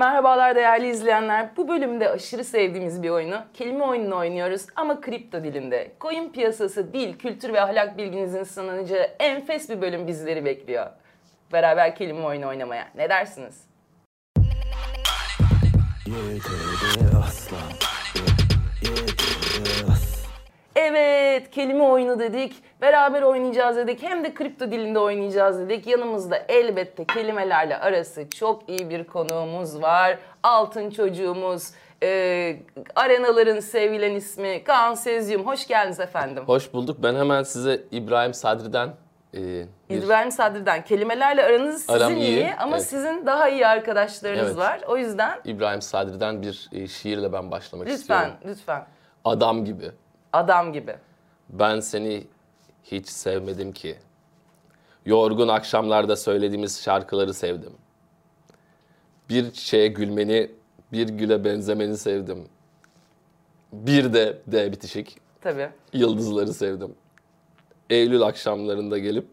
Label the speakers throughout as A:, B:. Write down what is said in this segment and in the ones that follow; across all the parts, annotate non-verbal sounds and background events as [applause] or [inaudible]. A: Merhabalar değerli izleyenler. Bu bölümde aşırı sevdiğimiz bir oyunu, kelime oyununu oynuyoruz ama kripto dilinde. Coin piyasası, dil, kültür ve ahlak bilginizin sınanacağı enfes bir bölüm bizleri bekliyor. Beraber kelime oyunu oynamaya ne dersiniz? Evet, kelime oyunu dedik. Beraber oynayacağız dedik. Hem de kripto dilinde oynayacağız dedik. Yanımızda elbette kelimelerle arası çok iyi bir konuğumuz var. Altın çocuğumuz, e, arenaların sevilen ismi Kaan Sezyum. Hoş geldiniz efendim.
B: Hoş bulduk. Ben hemen size İbrahim Sadri'den e, bir
A: İbrahim Sadri'den kelimelerle aranız sizin
B: Aram
A: iyi,
B: iyi,
A: ama
B: evet.
A: sizin daha iyi arkadaşlarınız
B: Evet.
A: var. O yüzden
B: İbrahim Sadri'den bir e, şiirle ben başlamak
A: lütfen,
B: istiyorum.
A: lütfen
B: Adam gibi.
A: adam gibi.
B: Ben seni hiç sevmedim ki. Yorgun akşamlarda söylediğimiz şarkıları sevdim. Bir çiçeğe gülmeni, bir güle benzemeni sevdim. Bir de D bitişik
A: Tabii.
B: yıldızları sevdim. Eylül akşamlarında gelip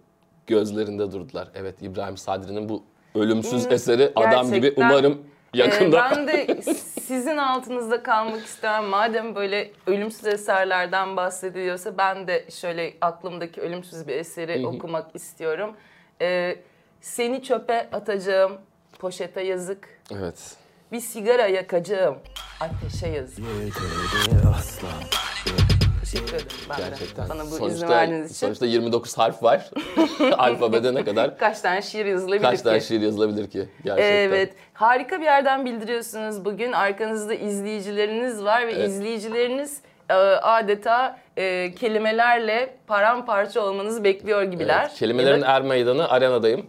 B: gözlerinde durdular. Evet İbrahim Sadri'nin bu ölümsüz
A: Hmm,
B: eseri adam gibi
A: gerçekten.
B: umarım yakında
A: Ee, ben de sizin altınızda kalmak istemem. Madem böyle ölümsüz eserlerden bahsediliyorsa ben de şöyle aklımdaki ölümsüz bir eseri okumak istiyorum. Ee, seni çöpe atacağım, poşete yazık.
B: [laughs] Evet.
A: Bir sigara yakacağım, ateşe yazık. Teşekkür ederim ben
B: Gerçekten.
A: de. Bana bu
B: sonuçta,
A: izni verdiğiniz için.
B: Sonuçta 29
A: [laughs]
B: harf var. Alfabede ne kadar?
A: Kaç tane şiir yazılabilir
B: Kaç
A: ki?
B: tane şiir yazılabilir ki? Gerçekten.
A: Evet. Harika bir yerden bildiriyorsunuz bugün. Arkanızda izleyicileriniz var ve
B: Evet.
A: izleyicileriniz e, adeta e, kelimelerle paramparça olmanızı bekliyor gibiler.
B: Evet, Kelimelerin
A: Ya da-
B: Er Meydanı arenadayım.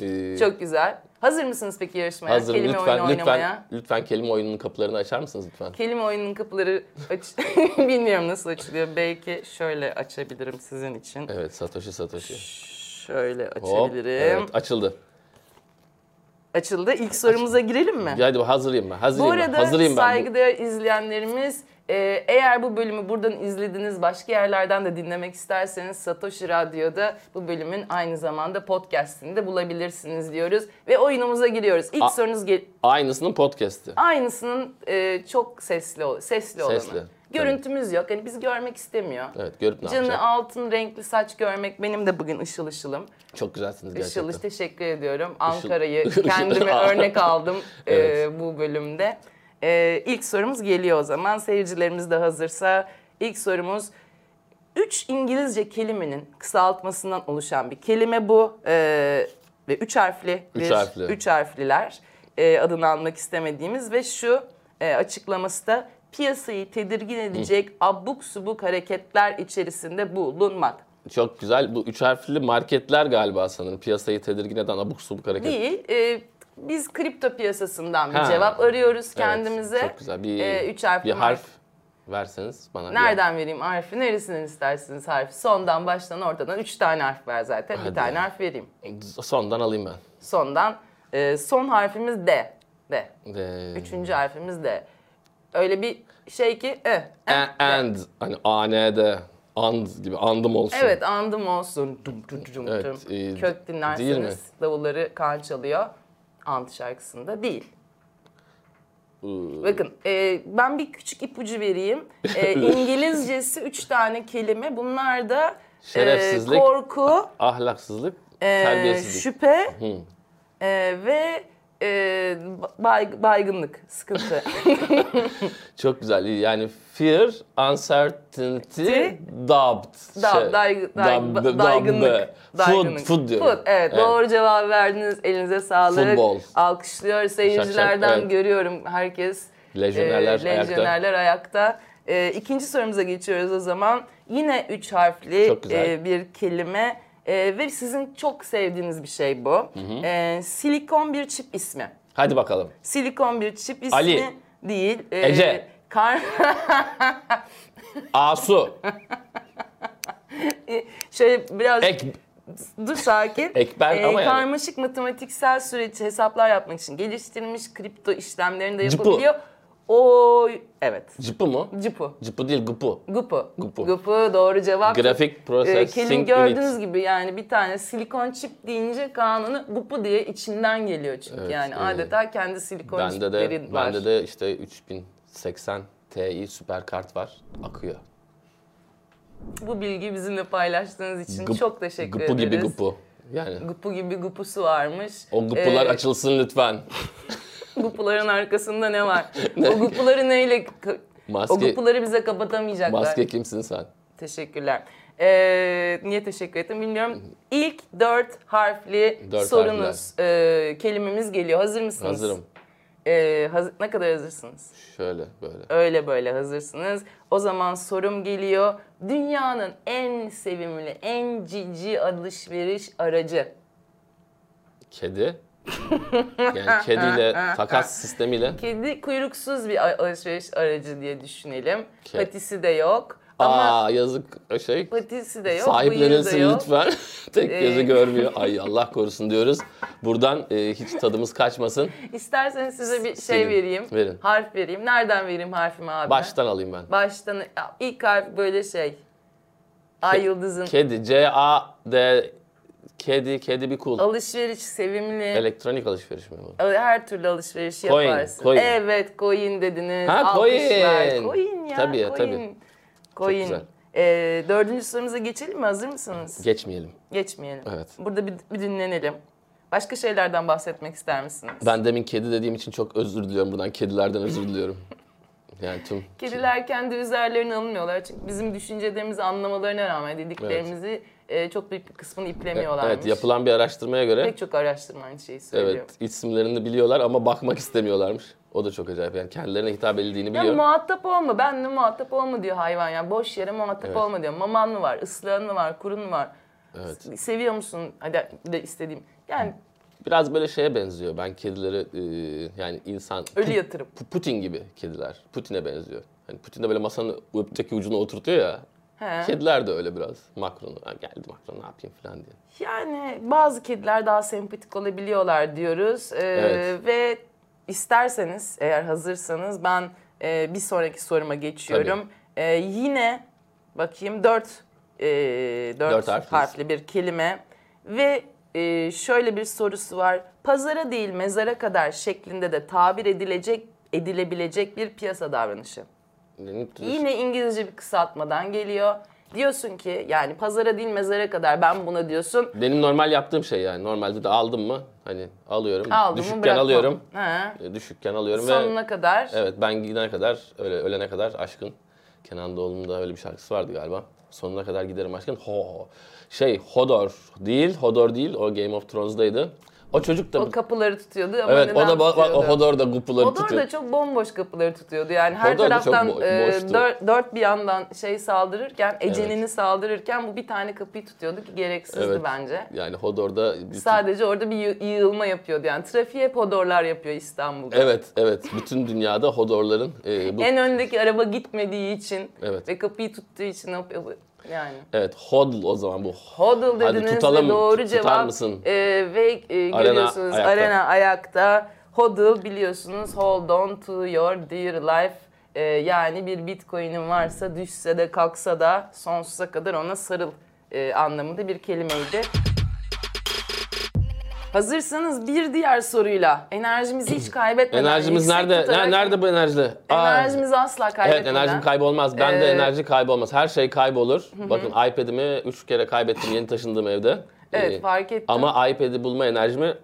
B: Ee,
A: çok güzel. Hazır mısınız peki yarışmaya?
B: hazırım.
A: Kelime
B: lütfen,
A: oyunu
B: lütfen,
A: oynamaya.
B: lütfen kelime oyununun kapılarını açar mısınız lütfen?
A: Kelime oyununun kapıları aç- [laughs] bilmiyorum nasıl açılıyor. Belki şöyle açabilirim sizin için.
B: Evet Satoshi Satoshi.
A: Şöyle
B: Hop,
A: açabilirim.
B: evet, açıldı.
A: Açıldı. İlk sorumuza girelim mi?
B: Hadi hazırım ben. Hazırım
A: Bu
B: ben.
A: arada
B: Hazırım ben. Bu-
A: saygıdeğer izleyenlerimiz e, eğer bu bölümü buradan izlediniz başka yerlerden de dinlemek isterseniz Satoshi Radyo'da bu bölümün aynı zamanda podcastini de bulabilirsiniz diyoruz. Ve oyunumuza giriyoruz. İlk
B: A-
A: sorunuz gel-
B: Aynısının podcast'i.
A: aynısının e, çok sesli, ol- sesli olanı.
B: Sesli,
A: Görüntümüz yok. Yani bizi görmek istemiyor.
B: Evet görüp ne
A: Canı
B: yapacak?
A: altın renkli saç görmek benim de bugün ışıl ışılım.
B: Çok güzelsiniz
A: Işıl
B: gerçekten.
A: Işıl, teşekkür ediyorum. Ankara'yı
B: [laughs] Işıl.
A: kendime örnek aldım e,
B: [laughs] Evet.
A: bu bölümde. E, ilk sorumuz geliyor o zaman. Seyircilerimiz de hazırsa ilk sorumuz üç İngilizce kelimenin kısaltmasından oluşan bir kelime bu E, ve üç harfli
B: Üç
A: bir-
B: harfli.
A: üç harfliler e, adını almak istemediğimiz ve şu e, açıklaması da piyasayı tedirgin edecek abuk subuk hareketler içerisinde bulunmak.
B: Çok güzel. Bu üç harfli marketler galiba sanırım. Piyasayı tedirgin eden abuk subuk hareket.
A: Değil. e, biz kripto piyasasından bir
B: Ha.
A: cevap arıyoruz
B: Evet,
A: kendimize.
B: çok güzel. Bir,
A: E, üç harfli
B: bir
A: mark-
B: harf verseniz bana. bir harf.
A: Nereden vereyim harfi? Neresinden istersiniz harfi? Sondan baştan ortadan üç tane harf var zaten. Bir
B: Hadi
A: tane
B: ya.
A: harf vereyim.
B: Sondan alayım ben.
A: Sondan. e, son harfimiz D. D.
B: De-
A: Üçüncü harfimiz D. Öyle bir şey ki e. e.
B: A- and. Hani AND. And gibi. Andım olsun.
A: Evet andım olsun. Dum, dum, dum, dum.
B: Evet, e,
A: Kök
B: değil mi?
A: dinlerseniz davulları Kaan çalıyor. Ant şarkısında değil. Bakın e, ben bir küçük ipucu vereyim.
B: [laughs]
A: E, İngilizcesi üç tane kelime. Bunlar da e,
B: Şerefsizlik.
A: korku,
B: Ahlaksızlık.
A: e,
B: terbiyesizlik.
A: şüphe e, ve e, bay- baygınlık,
B: [laughs]
A: sıkıntı.
B: Çok güzel. Yani fear, uncertainty, doubt.
A: Da-
B: Şey,
A: day- day-
B: dab-
A: ba-
B: dabbe.
A: daygınlık.
B: Food,
A: Daygınlık.
B: food diyorum.
A: Food, evet, doğru cevap verdiniz. Elinize sağlık.
B: Futbol.
A: Alkışlıyor seyircilerden
B: Şak şak, evet.
A: görüyorum herkes.
B: Lejyonerler
A: e, lejyonerler ayakta. E, ikinci sorumuza geçiyoruz o zaman. Yine üç harfli
B: Çok güzel.
A: e, bir kelime E, ve sizin çok sevdiğiniz bir şey bu. E, silikon bir çip ismi.
B: Hadi bakalım.
A: Silikon bir çip ismi
B: Ali.
A: değil. E,
B: Ece.
A: Kar
B: Asu.
A: [laughs] şöyle biraz
B: Ek,
A: Dur sakin.
B: [laughs]
A: Ee,
B: Ekber ama yani.
A: Karmaşık matematiksel süreç hesaplar yapmak için geliştirilmiş kripto işlemlerini de
B: Cıpı.
A: yapabiliyor. Oy. Evet.
B: Cıpı mı?
A: Cıpı.
B: Cıpı değil gıpı.
A: Gıpı.
B: Gıpı.
A: doğru cevap.
B: Grafik
A: Ee,
B: processing
A: kelime
B: unit.
A: gördüğünüz gibi yani bir tane silikon çip deyince kanunu gıpı diye içinden geliyor çünkü
B: Evet,
A: yani
B: e,
A: adeta kendi silikon
B: Bende
A: çipleri
B: de,
A: var.
B: bende de işte 3080 Ti süper kart var. Akıyor.
A: Bu bilgiyi bizimle paylaştığınız için
B: Gıp-
A: çok teşekkür
B: gıpı
A: ederiz.
B: gibi gıpı. Yani
A: Gıpı gibi gıpısı varmış.
B: o gıpılar
A: Ee,
B: açılsın lütfen.
A: Gıpıların arkasında ne
B: [laughs]
A: var? o gıpıları neyle... ka- O
B: Maske,
A: gıpıları bize kapatamayacaklar.
B: maske kimsin sen?
A: Teşekkürler. Ee, niye teşekkür ettim bilmiyorum. İlk dört harfli
B: Dört
A: sorunuz, e, kelimemiz geliyor. Hazır mısınız?
B: Hazırım.
A: Ee, hazır, ne kadar hazırsınız?
B: Şöyle böyle.
A: Öyle böyle hazırsınız. O zaman sorum geliyor. Dünyanın en sevimli, en cici alışveriş aracı. [laughs]
B: Kedi. Yani kediyle takas sistemiyle.
A: Kedi kuyruksuz bir a- alışveriş aracı diye düşünelim.
B: Ke-
A: Patisi de yok. Ama
B: Aa yazık o şey.
A: patisi de yok, bıyığı da
B: Sahiplenilsin
A: yok.
B: lütfen. [laughs] Tek
A: Ee, [laughs]
B: gözü görmüyor. Ay Allah korusun diyoruz. Buradan e, hiç tadımız kaçmasın.
A: İsterseniz size bir şey
B: Silin.
A: vereyim.
B: Verin.
A: Harf vereyim. Nereden vereyim harfimi abi?
B: Baştan alayım ben.
A: Baştan ya, ilk harf böyle şey. Ay yıldızın.
B: Kedi. C A D Kedi, kedi bir kul.
A: Alışveriş sevimli.
B: Elektronik alışveriş mi bu?
A: Her türlü alışveriş
B: Coin,
A: yaparsın.
B: coin.
A: Evet coin dediniz.
B: Ha,
A: Alkışlar.
B: coin.
A: Coin ya
B: Tabii ya,
A: coin.
B: tabii.
A: Coin.
B: güzel.
A: Ee, dördüncü sorumuza geçelim mi? Hazır mısınız?
B: Geçmeyelim.
A: Geçmeyelim.
B: Evet.
A: Burada bir, bir dinlenelim. Başka şeylerden bahsetmek ister misiniz?
B: Ben demin kedi dediğim için çok özür diliyorum buradan. Kedilerden özür diliyorum. Yani tüm
A: Kediler kendi üzerlerine alınmıyorlar. Çünkü bizim düşüncelerimizi anlamalarına rağmen dediklerimizi e, çok büyük bir kısmını iplemiyorlarmış.
B: Evet, yapılan bir araştırmaya göre
A: Pek çok şey araştırma aynı şeyi söylüyor.
B: evet isimlerini biliyorlar ama bakmak istemiyorlarmış. O da çok acayip. Yani kendilerine hitap edildiğini
A: Ya
B: biliyor.
A: muhatap olma, benle muhatap olma diyor hayvan ya. Boş yere muhatap
B: Evet.
A: olma diyor. Maman mı var, ıslığın mı var, kurun mu var?
B: Evet.
A: S- Seviyor musun? Hadi de istediğim. Yani
B: Biraz böyle şeye benziyor. Ben kedileri e, yani insan
A: ölü yatırım.
B: Pu- Putin gibi kediler. Putin'e benziyor. Hani Putin de böyle masanın öteki ucuna oturtuyor ya.
A: He.
B: Kediler de öyle biraz. Macron'u "Ha, geldi Macron ne yapayım falan diye.
A: Yani bazı kediler daha sempatik olabiliyorlar diyoruz. Ee,
B: Evet.
A: Ve isterseniz eğer hazırsanız ben e, bir sonraki soruma geçiyorum. Ee, yine bakayım dört, e, dört,
B: Dört
A: harfli.
B: harfliyiz.
A: bir kelime ve e, şöyle bir sorusu var. Pazara değil mezara kadar şeklinde de tabir edilecek edilebilenecek bir piyasa davranışı.
B: Yani
A: Yine İngilizce bir kısaltmadan geliyor. Diyorsun ki yani pazara değil mezara kadar ben buna diyorsun.
B: Benim normal yaptığım şey yani. Normalde de aldım mı hani alıyorum.
A: Aldım mı
B: düşükken
A: bırakmam.
B: alıyorum.
A: Ha.
B: E, Düşükken alıyorum ve
A: Sonuna kadar.
B: evet ben gidene kadar öyle ölene kadar aşkın. Kenan Doğulu'nun da öyle bir şarkısı vardı galiba. Sonuna kadar giderim aşkın. Ho. Şey Hodor değil, Hodor değil. O Game of Thrones'daydı. O çocuk da
A: O kapıları tutuyordu ama
B: Evet o
A: neden
B: da bak, bak, o
A: tutuyordu?
B: Hodor da gupuları
A: Hodor
B: tutuyor.
A: da çok bomboş kapıları tutuyordu yani. Her
B: Hodor da çok
A: taraftan
B: bo-
A: e,
B: boştu.
A: dört, dört bir yandan şey saldırırken, Ecenini saldırırken bu bir tane kapıyı tutuyordu ki gereksizdi
B: Evet.
A: bence.
B: Yani Hodor'da bütün-
A: Sadece orada bir yı- yığılma yapıyordu yani. Trafiğe hep Hodorlar yapıyor İstanbul'da.
B: Evet, evet. Bütün dünyada Hodor'ların e, bu
A: En öndeki araba gitmediği için
B: Evet.
A: ve kapıyı tuttuğu için hop- hop- yani.
B: Evet, Hodl o zaman bu.
A: Hodl
B: Hadi
A: dediniz
B: tutalım,
A: ve doğru
B: tutar
A: cevap
B: mısın?
A: e, ve e,
B: Arena
A: görüyorsunuz
B: ayakta.
A: arena ayakta. Hodl biliyorsunuz hold on to your dear life. E, yani bir bitcoin'in varsa düşse de kalksa da sonsuza kadar ona sarıl e, anlamında bir kelimeydi. Hazırsanız bir diğer soruyla enerjimizi hiç kaybetmeden
B: Enerjimiz
A: yüksek
B: nerede? Ne-
A: tutarak-
B: nerede bu enerji? Aa,
A: Enerjimizi asla kaybetmeden.
B: Evet, enerjim kaybolmaz. Ben
A: Ee,
B: de enerji kaybolmaz. Her şey kaybolur. Bakın iPad'imi 3 kere kaybettim yeni taşındığım evde.
A: Evet,
B: Ee,
A: fark ettim.
B: Ama iPad'i bulma enerjimi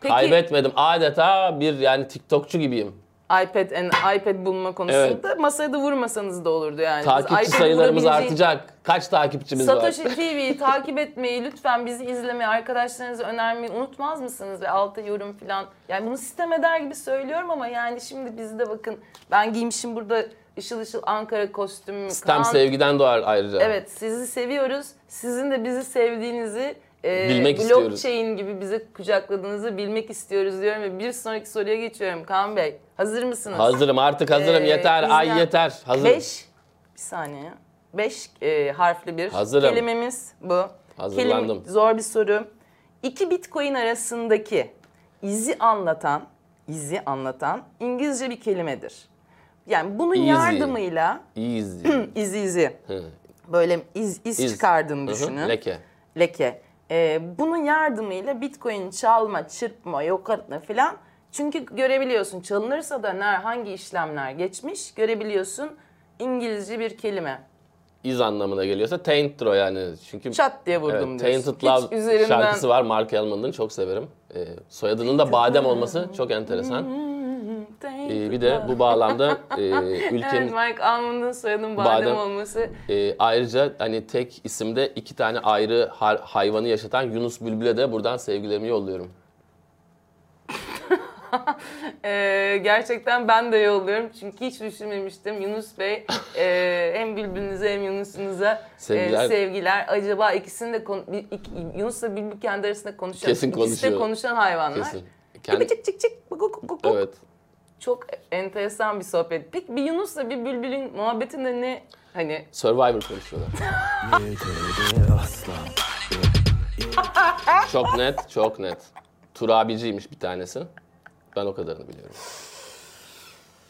A: Peki-
B: kaybetmedim. Adeta bir yani TikTokçu gibiyim.
A: iPad and iPad bulma konusunda masaya da vurmasanız da olurdu yani. Biz
B: Takipçi
A: iPad'i
B: sayılarımız
A: vurabileceğin-
B: artacak. Kaç takipçimiz var?
A: Satoshi TV'yi takip etmeyi lütfen bizi izlemeyi arkadaşlarınıza önermeyi unutmaz mısınız ve alta yorum falan. Yani bunu sistem eder gibi söylüyorum ama yani şimdi bizde bakın ben giymişim burada ışıl ışıl Ankara kostümü.
B: Sistem sevgiden doğar ayrıca.
A: Evet sizi seviyoruz. Sizin de bizi sevdiğinizi e,
B: Bilmek istiyoruz.
A: blockchain gibi bize kucakladığınızı bilmek istiyoruz diyorum ve bir sonraki soruya geçiyorum Kaan Bey. Hazır mısınız?
B: Hazırım artık hazırım
A: Ee,
B: yeter
A: izleyen-
B: ay yeter hazırım.
A: Beş, bir saniye. ya. Beş e, harfli bir
B: Hazırım.
A: kelimemiz bu.
B: Hazırlandım.
A: Kelime- zor bir soru. İki bitcoin arasındaki izi anlatan, izi anlatan İngilizce bir kelimedir. Yani bunun
B: Easy.
A: yardımıyla
B: Easy.
A: [clears throat] izi izi böyle iz, iz,
B: İz.
A: çıkardığını
B: Hı hı,
A: düşünün.
B: Leke.
A: leke. Ee, bunun yardımıyla bitcoin çalma, çırpma, yok atma filan. Çünkü görebiliyorsun çalınırsa da ner, hangi işlemler geçmiş görebiliyorsun. İngilizce bir kelime.
B: iz anlamına geliyorsa taint'tir o yani. Çünkü
A: Çat diye vurdum
B: evet,
A: diyorsun.
B: Tainted Love
A: Hiç üzerinden-
B: şarkısı var. Mark Elman'ın çok severim. Ee, soyadının da badem olması çok enteresan. Ee, bir de bu bağlamda
A: [laughs]
B: e,
A: Evet,
B: ülkenin
A: Mike Almond'un soyadının badem,
B: Badem.
A: olması.
B: e, ayrıca hani tek isimde iki tane ayrı har- hayvanı yaşatan Yunus Bülbül'e de buradan sevgilerimi yolluyorum.
A: Ee, gerçekten ben de yolluyorum çünkü hiç düşünmemiştim. Yunus Bey e, hem Bülbül'ünüze hem Yunus'unuza e,
B: Sevgiler.
A: sevgiler. Acaba ikisini de konu- bir- iki- Yunus'la Bülbül kendi arasında konuşuyor.
B: Kesin
A: İkisi de
B: konuşuyor.
A: konuşan hayvanlar.
B: Kesin. Kendi-
A: Çık çık çık. Guk, guk, guk, guk.
B: evet.
A: Çok enteresan bir sohbet. Peki bir Yunus'la bir Bülbül'ün muhabbetinde ne hani
B: Survivor konuşuyorlar. çok net, çok net. Turabiciymiş bir tanesi. Ben o kadarını biliyorum.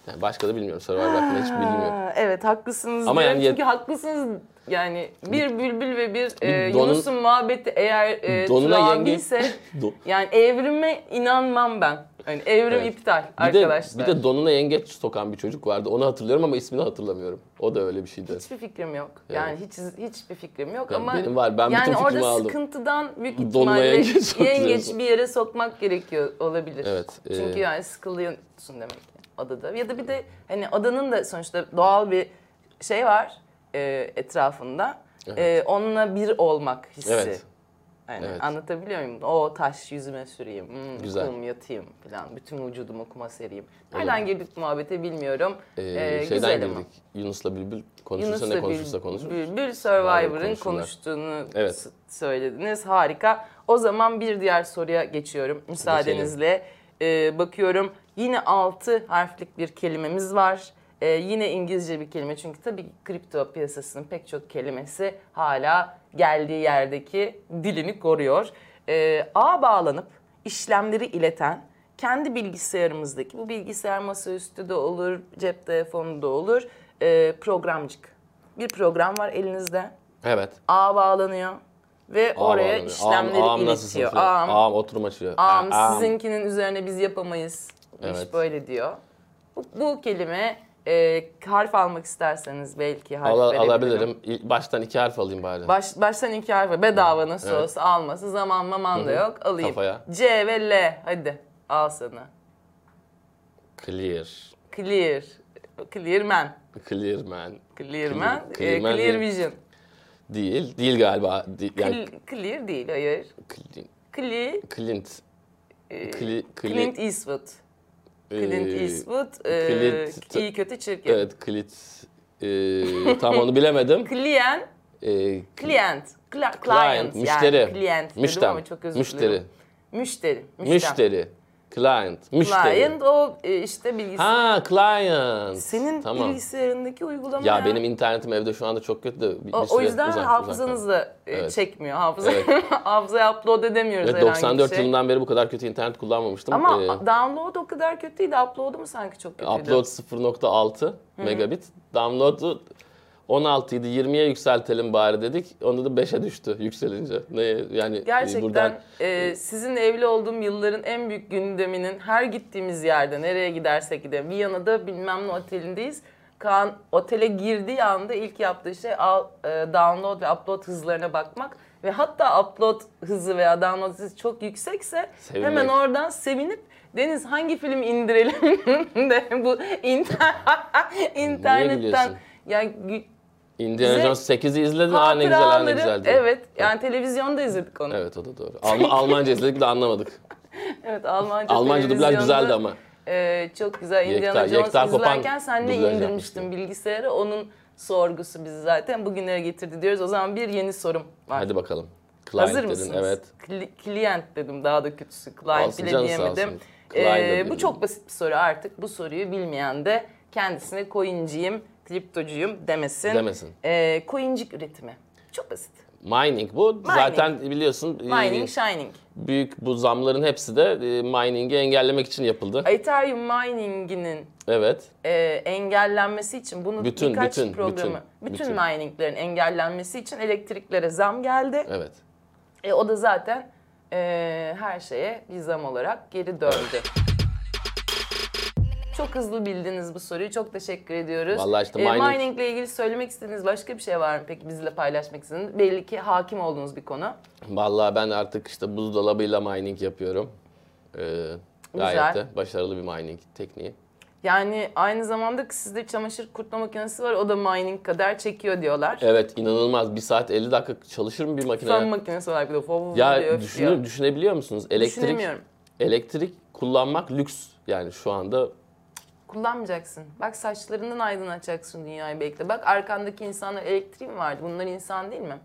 B: Yani başka da bilmiyorum. Survivor hakkında hiç bilmiyorum.
A: Aa, Evet haklısınız.
B: Ama
A: Ama
B: yani
A: çünkü haklısınız. Yani bir bülbül ve bir, e,
B: donun-
A: Yunus'un muhabbeti eğer e,
B: donuna
A: turabi
B: yenge-
A: ise
B: [laughs] Do-
A: yani evrime inanmam ben. Yani evrim
B: Evet.
A: iptal
B: Bir de,
A: arkadaşlar.
B: bir de donuna yengeç sokan bir çocuk vardı. Onu hatırlıyorum ama ismini hatırlamıyorum. O da öyle bir şeydi.
A: hiçbir fikrim yok. Yani hiç hiçbir fikrim yok
B: Yani
A: ama
B: benim var, ben bütün
A: yani
B: fikrimi
A: orada
B: aldım.
A: sıkıntıdan büyük
B: Donuna
A: ihtimalle
B: yengeç
A: yengeç,
B: sokuyorsun.
A: bir yere sokmak gerekiyor olabilir.
B: Evet, e-
A: Çünkü yani sıkılıyorsun demek ki adada. Ya da bir de hani adanın da sonuçta doğal bir şey var e, etrafında. E, onunla bir olmak hissi.
B: Evet. Ee,
A: Yani
B: Evet.
A: Anlatabiliyor muyum? O taş yüzüme süreyim, hmm,
B: Güzel.
A: kılım yatayım falan. Bütün vücudumu kuma sereyim. Nereden girdik muhabbete bilmiyorum.
B: Ee,
A: Ee, güzel
B: şeyden
A: ama.
B: girdik. Yunus'la Bülbül konuşursa
A: Yunus'la
B: ne konuşursa
A: Bül-
B: konuşur.
A: Bülbül
B: Survivor'ın
A: Survivor'ın
B: konuşurlar.
A: konuştuğunu
B: Evet.
A: s- söylediniz. Harika. O zaman bir diğer soruya geçiyorum müsaadenizle. Ee, bakıyorum yine 6 harflik bir kelimemiz var. Ee, yine İngilizce bir kelime çünkü tabii kripto piyasasının pek çok kelimesi hala geldiği yerdeki dilini koruyor. Ee, A bağlanıp işlemleri ileten kendi bilgisayarımızdaki bu bilgisayar masaüstü de olur, cep telefonu da olur e, programcık. Bir program var elinizde.
B: Evet.
A: A bağlanıyor ve
B: Ağam
A: oraya
B: ağlanıyor.
A: işlemleri
B: ağam, ağam nasıl
A: iletiyor.
B: sınıfı?
A: Ağam,
B: Ağam,
A: ağam,
B: oturum açıyor. Ağam,
A: sizinkinin üzerine biz yapamayız.
B: Evet.
A: İş böyle diyor. Bu, bu kelime e, harf almak isterseniz belki harf
B: Ala-
A: verebilirim.
B: alabilirim. İl- Baştan iki harf alayım bari.
A: Baş, baştan iki harf var. bedava nasıl
B: Evet.
A: olsa alması zaman maman da yok alayım.
B: Kafaya.
A: C ve L hadi al sana.
B: Clear.
A: Clear. Clearman.
B: Clear man.
A: Clearman.
B: Clear-
A: e,
B: Clearman
A: clear
B: değil.
A: vision.
B: Değil. Değil galiba. Değil, yani
A: Cl- clear değil hayır.
B: Cl-
A: Clear.
B: Clint.
A: e,
B: Cli- Cli-
A: Clint Eastwood.
B: e,
A: Clint Eastwood. e,
B: Clint-
A: iyi kötü çirkin.
B: ee, Evet Clint. E, tam
A: [laughs]
B: onu bilemedim.
A: Client.
B: E,
A: Client. Cla- client.
B: client.
A: yani
B: Müşteri.
A: Client dedim
B: Müştem.
A: ama çok özür
B: Müşteri.
A: dilerim. Müşteri. Müştem.
B: Müşteri. Client. Müşteri.
A: Client o e, işte bilgisayar.
B: Ha client.
A: Senin
B: tamam.
A: bilgisayarındaki uygulama
B: Ya benim internetim evde şu anda çok kötü de bir,
A: O,
B: bir
A: o
B: süre
A: yüzden
B: uzak- uzak
A: hafızanız
B: kaldı.
A: da e,
B: Evet.
A: çekmiyor. Hafıza,
B: Evet.
A: [laughs] hafızaya upload edemiyoruz
B: Evet,
A: herhangi bir
B: 94
A: şey.
B: yılından beri bu kadar kötü internet kullanmamıştım.
A: Ama
B: Ee,
A: download o kadar kötüydü. Upload'u mu sanki çok kötüydü?
B: Upload 0.6 megabit. Download'u 16 idi 20'ye yükseltelim bari dedik. Onda da 5'e düştü yükselince. Ne yani e,
A: Gerçekten
B: buradan
A: e, sizin evli olduğum yılların en büyük gündeminin her gittiğimiz yerde nereye gidersek gidelim. Viyana'da bilmem ne otelindeyiz. Kaan otele girdiği anda ilk yaptığı şey al, e, download ve upload hızlarına bakmak. Ve hatta upload hızı veya download hızı çok yüksekse
B: Sevinmek.
A: hemen oradan sevinip Deniz hangi film indirelim [laughs] de bu inter internetten
B: gülüyorsun?
A: yani gü-
B: Indiana
A: bize
B: Jones 8'i izledin. Aa ne güzel, aa ne
A: hatıraları-
B: güzel diye.
A: evet yani televizyonda izledik onu.
B: Evet o da doğru. Alm- Almanca izledik de anlamadık.
A: Evet Almanca
B: Almanca dublaj
A: televizyonda,
B: güzeldi ama.
A: e, çok güzel Indiana
B: Yekta-
A: Jones
B: Yekta Kopan
A: izlerken sen ne
B: dublaj
A: indirmiştin
B: yapmıştı.
A: bilgisayara onun sorgusu bizi zaten bugünlere getirdi diyoruz. O zaman bir yeni sorum var.
B: Hadi bakalım. Client
A: Hazır
B: dedin,
A: mısınız?
B: Evet.
A: Cli- client dedim daha da kötüsü. Client
B: Olsun,
A: bile
B: canı sağ
A: diyemedim.
B: olsun. Client
A: E,
B: dedim.
A: bu çok basit bir soru artık. Bu soruyu bilmeyen de kendisine coinciyim, kriptocuyum demesin.
B: Demesin.
A: E, coincik üretimi. Çok basit.
B: Mining bu. Zaten biliyorsun e,
A: Mining, shining.
B: büyük bu zamların hepsi de e, mining'i engellemek için yapıldı.
A: Ethereum mining'inin
B: Evet.
A: e, engellenmesi için bunu
B: Bütün,
A: birkaç
B: bütün,
A: programı,
B: bütün,
A: bütün,
B: bütün.
A: mininglerin engellenmesi için elektriklere zam geldi.
B: Evet.
A: E, o da zaten e, her şeye bir zam olarak geri döndü. Çok hızlı bildiniz bu soruyu. Çok teşekkür ediyoruz.
B: Vallahi işte
A: E,
B: mining-
A: miningle ilgili söylemek istediğiniz başka bir şey var mı peki bizle paylaşmak istediğiniz? Belli ki hakim olduğunuz bir konu.
B: Vallahi ben artık işte buzdolabıyla mining yapıyorum. Ee,
A: Güzel.
B: gayet de başarılı bir mining tekniği.
A: Yani aynı zamanda sizde çamaşır kurutma makinesi var. O da mining kadar çekiyor diyorlar.
B: Evet inanılmaz. 1 saat 50 dakika çalışır mı bir makine?
A: Fön makinesi olarak bir de fov diye
B: ya
A: öpüyor.
B: düşünür, düşünebiliyor musunuz? Elektrik
A: Düşünemiyorum.
B: elektrik kullanmak lüks. Yani şu anda
A: Kullanmayacaksın. Bak saçlarından aydınlatacaksın dünyayı bekle. Bak arkandaki insanlar elektrik mi vardı? Bunlar insan değil mi?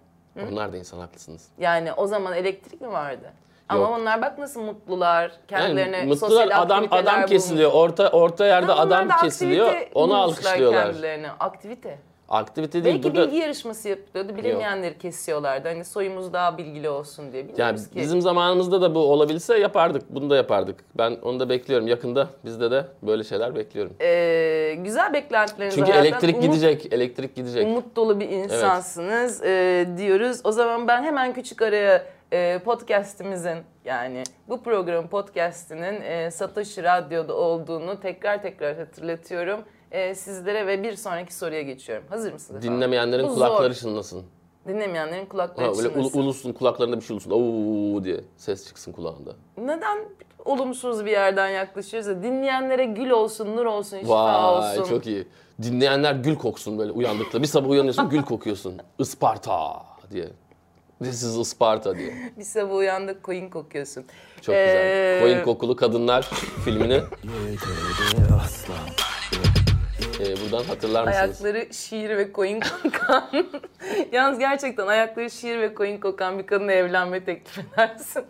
B: onlar da insan haklısınız.
A: Yani o zaman elektrik mi vardı? Ama
B: Yok.
A: onlar bak nasıl mutlular. Kendilerine
B: Yani
A: sosyal
B: mutlular adam
A: aktiviteler
B: adam
A: bulmuş.
B: kesiliyor. Orta orta yerde
A: Ama onlar da
B: adam
A: aktivite
B: kesiliyor. Onu
A: bulmuşlar
B: alkışlıyorlar.
A: Kendilerine. Aktivite.
B: Aktivite değil
A: Belki
B: burada.
A: bilgi yarışması yapılıyordu. Bilinmeyenleri kesiyorlardı. Hani soyumuz daha bilgili olsun diye.
B: Yani
A: Bilmiyoruz ki.
B: bizim zamanımızda da bu olabilse yapardık. Bunu da yapardık. Ben onu da bekliyorum. Yakında bizde de böyle şeyler bekliyorum.
A: Ee, güzel beklentileriniz
B: Çünkü
A: hayattan
B: elektrik
A: umut-
B: gidecek, elektrik gidecek.
A: Umut dolu bir insansınız e, diyoruz. O zaman ben hemen küçük araya e, podcastimizin yani bu programın podcastinin e, Satoshi Radyo'da olduğunu tekrar tekrar hatırlatıyorum. E, sizlere ve bir sonraki soruya geçiyorum. Hazır mısınız? efendim?
B: Dinlemeyenlerin
A: Bu zor.
B: kulakları çınlasın.
A: Dinlemeyenlerin
B: Ha,
A: kulakları
B: böyle ulu-
A: çınlasın.
B: ulusun kulaklarında bir şey olsun. Oo diye ses çıksın kulağında.
A: Neden olumsuz bir yerden yaklaşıyoruz da dinleyenlere gül olsun, nur olsun, şifa
B: Vay
A: olsun.
B: çok iyi. Dinleyenler gül koksun böyle uyandıkla. Bir sabah uyanıyorsun gül
A: [laughs]
B: kokuyorsun. Isparta diye. This is Isparta diye.
A: Bir sabah uyandık koyun kokuyorsun.
B: Çok
A: Ee,
B: güzel. Koyun kokulu kadınlar filmini e, buradan hatırlar mısınız?
A: Ayakları şiir ve koyun kokan. [laughs] Yalnız gerçekten ayakları şiir ve koyun kokan bir kadına evlenme teklif edersin.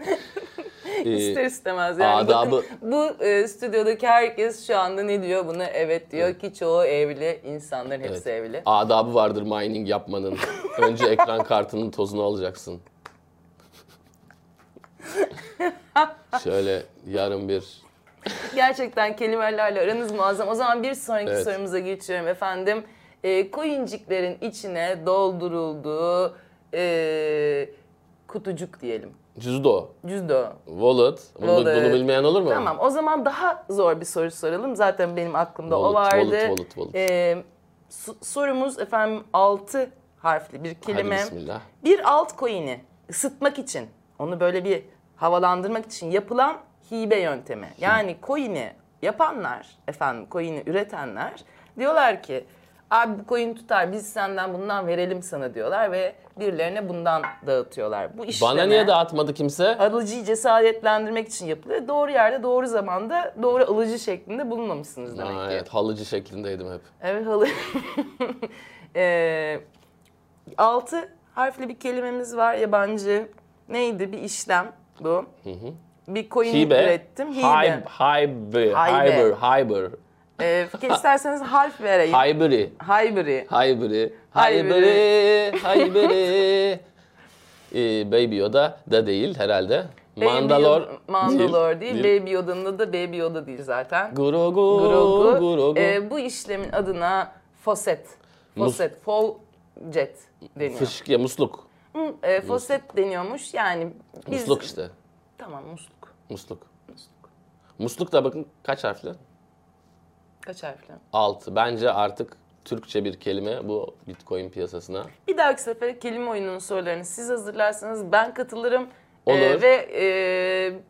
B: Ee,
A: İster istemez yani.
B: adabı-
A: Bakın, bu e, stüdyodaki herkes şu anda ne diyor buna? Evet diyor ki çoğu evli. insanların hepsi evli.
B: Adabı vardır mining yapmanın. Önce ekran kartının tozunu alacaksın.
A: [laughs]
B: Şöyle yarım bir
A: Gerçekten kelimelerle aranız muazzam. O zaman bir sonraki
B: Evet.
A: sorumuza geçiyorum efendim. E, koyunciklerin içine doldurulduğu e, kutucuk diyelim.
B: cüzdo,
A: Cüzdo.
B: wallet. Bunu,
A: Wallet.
B: bunu bilmeyen olur mu?
A: Tamam o zaman daha zor bir soru soralım. Zaten benim aklımda o
B: Wallet,
A: vardı.
B: wallet, wallet, wallet.
A: Ee, su- sorumuz efendim 6 harfli bir
B: Hadi
A: kelime.
B: bismillah.
A: Bir altcoin'i ısıtmak için, onu böyle bir havalandırmak için yapılan hibe yöntemi. Yani coin'i yapanlar, efendim coin'i üretenler diyorlar ki abi bu coin tutar biz senden bundan verelim sana diyorlar ve birilerine bundan dağıtıyorlar. Bu işleme,
B: Bana niye dağıtmadı kimse?
A: alıcıyı cesaretlendirmek için yapılıyor. Doğru yerde doğru zamanda doğru alıcı şeklinde bulunmamışsınız demek
B: Aa,
A: ki.
B: evet, halıcı şeklindeydim hep.
A: Evet halı. [laughs] Ee, altı harfli bir kelimemiz var yabancı. Neydi? Bir işlem bu. Bir coin
B: Hibe.
A: Ee, ürettim. Hibe.
B: Hybe. Hybe.
A: Haybe.
B: Hyber. Hyber.
A: Ee, isterseniz harf vereyim.
B: Hyberi.
A: Hybrid.
B: Hyberi.
A: Hyberi.
B: Hyberi. Hyberi. ee, Baby Yoda da değil herhalde. Mandalor.
A: Baby Yoda- Mandalor değil.
B: Guru
A: Baby Yoda'nın da Baby Yoda değil zaten.
B: Grogu.
A: Grogu.
B: Grogu.
A: Ee, bu işlemin adına foset.
B: Mus-
A: Foset. Faucet deniyor.
B: Fışkı, musluk.
A: Hı, e, foset deniyormuş. Yani biz...
B: Musluk işte.
A: Tamam musluk.
B: Musluk.
A: Musluk.
B: Musluk da bakın kaç harfli?
A: Kaç harfli?
B: Altı. Bence artık Türkçe bir kelime bu Bitcoin piyasasına.
A: Bir dahaki sefere kelime oyununun sorularını siz hazırlarsanız ben katılırım.
B: Olur.
A: Ee, ve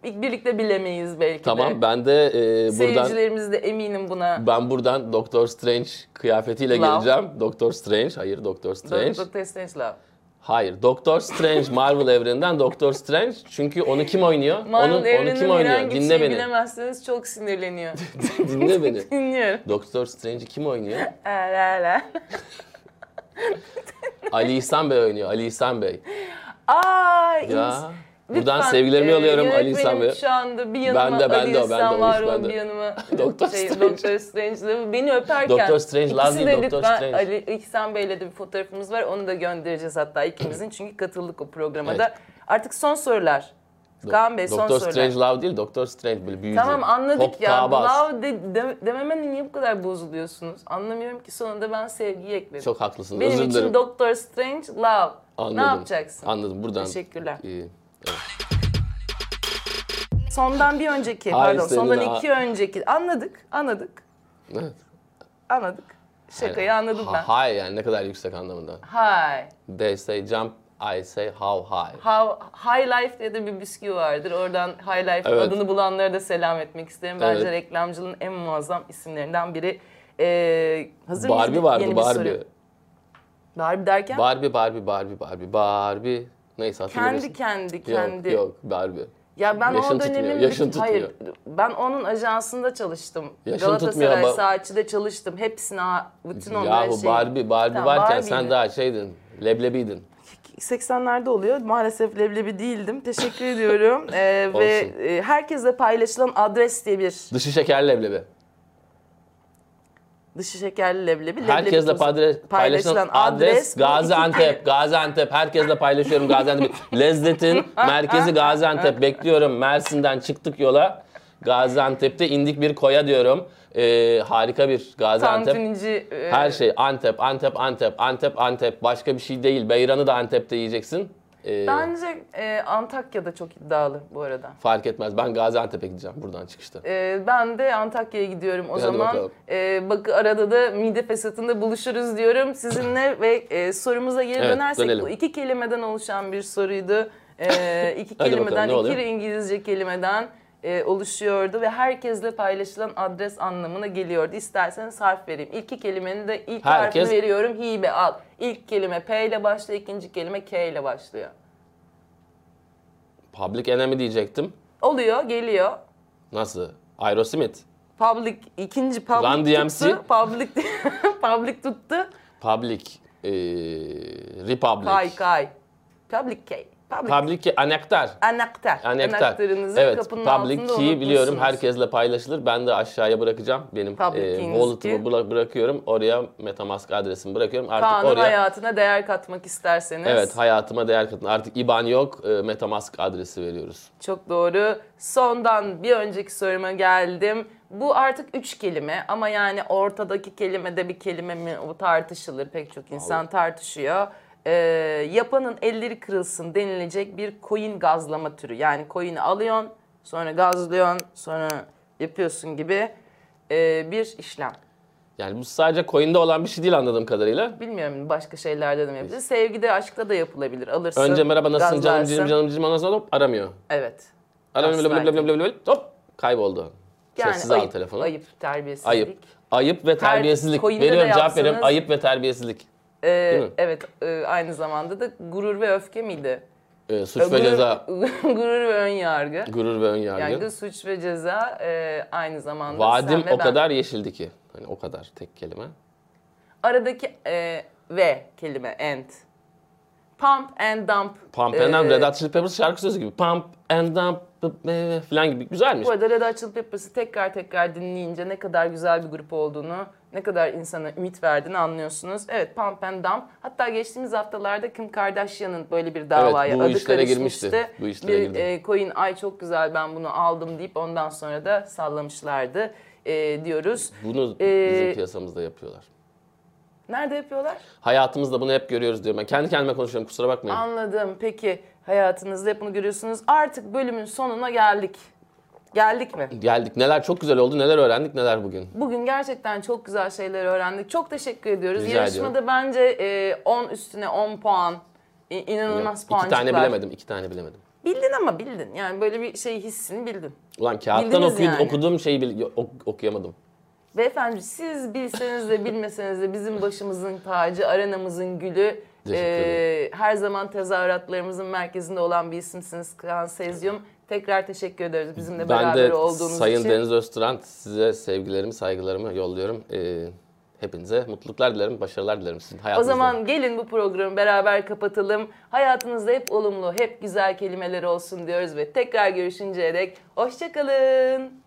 A: e, birlikte bilemeyiz belki de.
B: Tamam ben de e, buradan...
A: Seyircilerimiz de eminim buna.
B: Ben buradan Doktor Strange kıyafetiyle
A: Love.
B: geleceğim. Doktor Strange, hayır Doktor Strange.
A: Dr. Strangelove.
B: Hayır, Doktor Strange Marvel evreninden Doktor Strange. Çünkü onu kim oynuyor?
A: Marvel
B: onu, onu
A: evreninin
B: kim oynuyor?
A: herhangi bir şey
B: Dinle
A: şeyi
B: beni.
A: bilemezseniz çok sinirleniyor.
B: [laughs]
A: [laughs]
B: Dinle beni.
A: Dinliyorum.
B: Doktor Strange'i kim oynuyor?
A: La la la.
B: Ali İhsan Bey oynuyor. Ali İhsan Bey.
A: Ay
B: Ya Buradan
A: Ee,
B: sevgilerimi alıyorum Ali İhsan Bey'e.
A: e, Şu anda bir yanıma
B: de, ben
A: Ali
B: de o, ben de
A: İhsan
B: o,
A: var
B: ben
A: o,
B: de.
A: bir yanıma
B: [laughs] Doktor Strange.
A: Doctor Strange'le beni öperken.
B: Doktor Strange, Laz
A: İkisi
B: değil,
A: de
B: Doktor
A: lütfen
B: Strange.
A: Ali İhsan Bey'le de bir fotoğrafımız var. Onu da göndereceğiz hatta ikimizin çünkü katıldık o programa
B: Evet.
A: da. Artık son sorular. Kaan Bey son
B: Doktor
A: sorular.
B: Strange Love değil, Doktor Strange böyle büyücü.
A: Tamam anladık ya.
B: Hokkabaz.
A: Love de, de, dememene niye bu kadar bozuluyorsunuz? Anlamıyorum ki sonunda ben sevgiyi ekledim.
B: Çok haklısın.
A: Benim
B: Özür
A: için
B: dilerim.
A: Doctor Strange love.
B: Anladım.
A: Ne yapacaksın?
B: Anladım. Buradan.
A: Teşekkürler.
B: İyi.
A: Sondan bir önceki,
B: Hayır,
A: pardon,
B: senin
A: sondan
B: a-
A: iki önceki. Anladık, anladık,
B: Evet.
A: anladık. Şakayı
B: Aynen.
A: anladım ben.
B: Ha- High yani ne kadar yüksek anlamında.
A: Hi.
B: They say jump, I say how high.
A: How, High Life diye de bir bisküvi vardır. Oradan High Life
B: Evet.
A: adını bulanlara da selam etmek isterim. Bence
B: Evet.
A: reklamcılığın en muazzam isimlerinden biri. Ee, hazır
B: Barbie
A: mıyız? Yeni
B: vardı
A: bir
B: Barbie.
A: soru. Barbie derken?
B: Barbie, Barbie, Barbie, Barbie, Barbie. Neyse hatırlamıyorsun.
A: kendi kendi
B: Yok,
A: kendi.
B: yok Barbie.
A: Ya ben
B: Yaşın
A: o dönemin
B: tutmuyor, yaşın
A: bütün- hayır ben onun ajansında çalıştım.
B: Yaşın tutmuyor
A: Galatasaray
B: ama-
A: saatçide çalıştım. Hepsine ha- bütün şey- onların
B: Yahu
A: şeyi-
B: Barbie, Barbie
A: Tamam,
B: varken
A: Barbie'ydi.
B: sen daha şeydin, leblebiydin.
A: 80'lerde oluyor. Maalesef leblebi değildim. Teşekkür
B: [laughs]
A: ediyorum. Ee, ve e, herkesle paylaşılan adres diye bir
B: Dışı şeker leblebi.
A: dışı şekerli leblebi.
B: Herkesle
A: leblebi tozu.
B: padre- paylaşılan adres
A: bu
B: Gaziantep. Gaziantep. Herkesle paylaşıyorum Gaziantep. [laughs] Lezzetin merkezi Gaziantep. Bekliyorum. Mersin'den çıktık yola. Gaziantep'te indik bir koya diyorum. Ee, harika bir Gaziantep.
A: Tantunici. e,
B: Her şey Antep, Antep, Antep, Antep, Antep. Başka bir şey değil. Beyran'ı da Antep'te yiyeceksin. Ee,
A: Bence e, Antakya'da çok iddialı bu arada.
B: Fark etmez. Ben Gaziantep'e gideceğim buradan çıkışta.
A: Ee, ben de Antakya'ya gidiyorum o
B: Hadi
A: zaman.
B: bakalım.
A: Ee, bak arada da mide fesatında buluşuruz diyorum sizinle
B: [clears throat]
A: ve e, sorumuza geri
B: Evet,
A: dönersek
B: dönelim.
A: bu iki kelimeden oluşan bir soruydu.
B: [laughs]
A: Ee, iki
B: Hadi bakalım,
A: kelimeden,
B: ne oluyor?
A: iki İngilizce kelimeden e, oluşuyordu ve herkesle paylaşılan adres anlamına geliyordu. İsterseniz harf vereyim. İlk iki kelimenin de ilk
B: Herkes-
A: harfini veriyorum. Hibe al. İlk kelime P ile başlıyor, ikinci kelime K ile başlıyor.
B: Public Enemy diyecektim.
A: Oluyor, geliyor.
B: Nasıl? Aerosmith.
A: Public ikinci public
B: Run DMC.
A: tuttu. Public [laughs] public tuttu.
B: Public. ee, Republic.
A: Kay kay. Public key. Public.
B: Public key, anahtar.
A: Anahtar.
B: Anahtar.
A: Anahtarınızı
B: evet,
A: kapının
B: public
A: altında
B: key biliyorum
A: unutmuşsunuz.
B: herkesle paylaşılır. Ben de aşağıya bırakacağım. Benim
A: Public
B: e,
A: key'iniz
B: wallet'ımı
A: ki.
B: bıra- bırakıyorum. Oraya Metamask adresimi bırakıyorum. Artık
A: Kaan'ın
B: oraya
A: hayatına değer katmak isterseniz.
B: Evet, hayatıma değer katın. Artık IBAN yok. e, Metamask adresi veriyoruz.
A: Çok doğru. Sondan bir önceki soruma geldim. Bu artık üç kelime ama yani ortadaki kelime de bir kelime mi o tartışılır. Pek çok insan tartışıyor. Ee, yapanın elleri kırılsın denilecek bir coin gazlama türü. Yani coin'i alıyorsun, sonra gazlıyorsun, sonra yapıyorsun gibi ee, bir işlem.
B: Yani bu sadece coin'de olan bir şey değil anladığım kadarıyla.
A: Bilmiyorum başka şeylerde de mi yapılır? Sevgide, aşkta da yapılabilir. Alırsın,
B: Önce merhaba nasılsın canım
A: gazlarsın.
B: cicim canım cicim ondan sonra hop aramıyor.
A: Evet.
B: Aramıyor
A: Aslında
B: blablabla blablabla, hop kayboldu.
A: Yani
B: Sessiz al
A: ayıp,
B: telefonu.
A: ayıp terbiyesizlik.
B: Ayıp. Ayıp ve terbiyesizlik.
A: coin'de de
B: Veriyorum cevap
A: yapsanız-
B: veriyorum. Ayıp ve terbiyesizlik.
A: Ee,
B: Değil mi?
A: evet e, aynı zamanda da gurur ve öfke miydi?
B: E, suç ve ceza.
A: [laughs] gurur ve ön yargı.
B: Gurur ve ön yargı.
A: Yargı, suç ve ceza e, aynı zamanda
B: Vadim
A: sen ve
B: o
A: ben.
B: kadar yeşildi ki. Hani o kadar tek kelime.
A: Aradaki e, ve kelime and. Pump and dump.
B: Pump
A: E,
B: and Dump, Red Hot Chili Peppers şarkı sözü gibi. Pump and Dump e, falan gibi. Güzelmiş.
A: Bu arada Red Hot Chili Peppers'ı tekrar tekrar dinleyince ne kadar güzel bir grup olduğunu, ne kadar insana ümit verdiğini anlıyorsunuz. Evet Pump and Dump. Hatta geçtiğimiz haftalarda Kim Kardashian'ın böyle bir davaya
B: Evet, bu
A: adı
B: işlere
A: karışmıştı.
B: girmişti. Bu işlere
A: bir
B: girdi.
A: e, coin ay çok güzel ben bunu aldım deyip ondan sonra da sallamışlardı e, diyoruz.
B: Bunu
A: Ee,
B: bizim piyasamızda yapıyorlar.
A: Nerede yapıyorlar?
B: Hayatımızda bunu hep görüyoruz diyorum. Ben kendi kendime konuşuyorum kusura bakmayın.
A: Anladım. Peki hayatınızda hep bunu görüyorsunuz. Artık bölümün sonuna geldik. Geldik mi?
B: Geldik. Neler çok güzel oldu. Neler öğrendik. Neler bugün.
A: Bugün gerçekten çok güzel şeyler öğrendik. Çok teşekkür ediyoruz.
B: Rica
A: Yarışmada bence e, 10 üstüne 10 puan. İ- inanılmaz
B: İki
A: puancıklar.
B: tane bilemedim. iki tane bilemedim.
A: Bildin ama bildin. Yani böyle bir şey hissini bildin.
B: Ulan kağıttan
A: Bildiniz
B: okuy-
A: yani.
B: okuduğum şeyi bil- yo- ok- okuyamadım.
A: Beyefendi siz bilseniz de bilmeseniz de bizim başımızın tacı, arenamızın gülü.
B: Teşekkür
A: e, her zaman tezahüratlarımızın merkezinde olan bir isimsiniz Kaan Sezyum. Tekrar teşekkür ederiz bizimle
B: Ben
A: beraber
B: de
A: olduğunuz
B: Sayın
A: için.
B: Deniz Öztürk size sevgilerimi, saygılarımı yolluyorum. Ee, Hepinize mutluluklar dilerim, başarılar dilerim sizin
A: O
B: hayatınızda.
A: zaman gelin bu programı beraber kapatalım. Hayatınızda hep olumlu, hep güzel kelimeler olsun diyoruz ve tekrar görüşünceye dek hoşçakalın.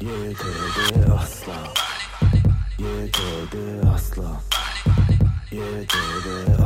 C: Yedi asla Yedi asla Yedi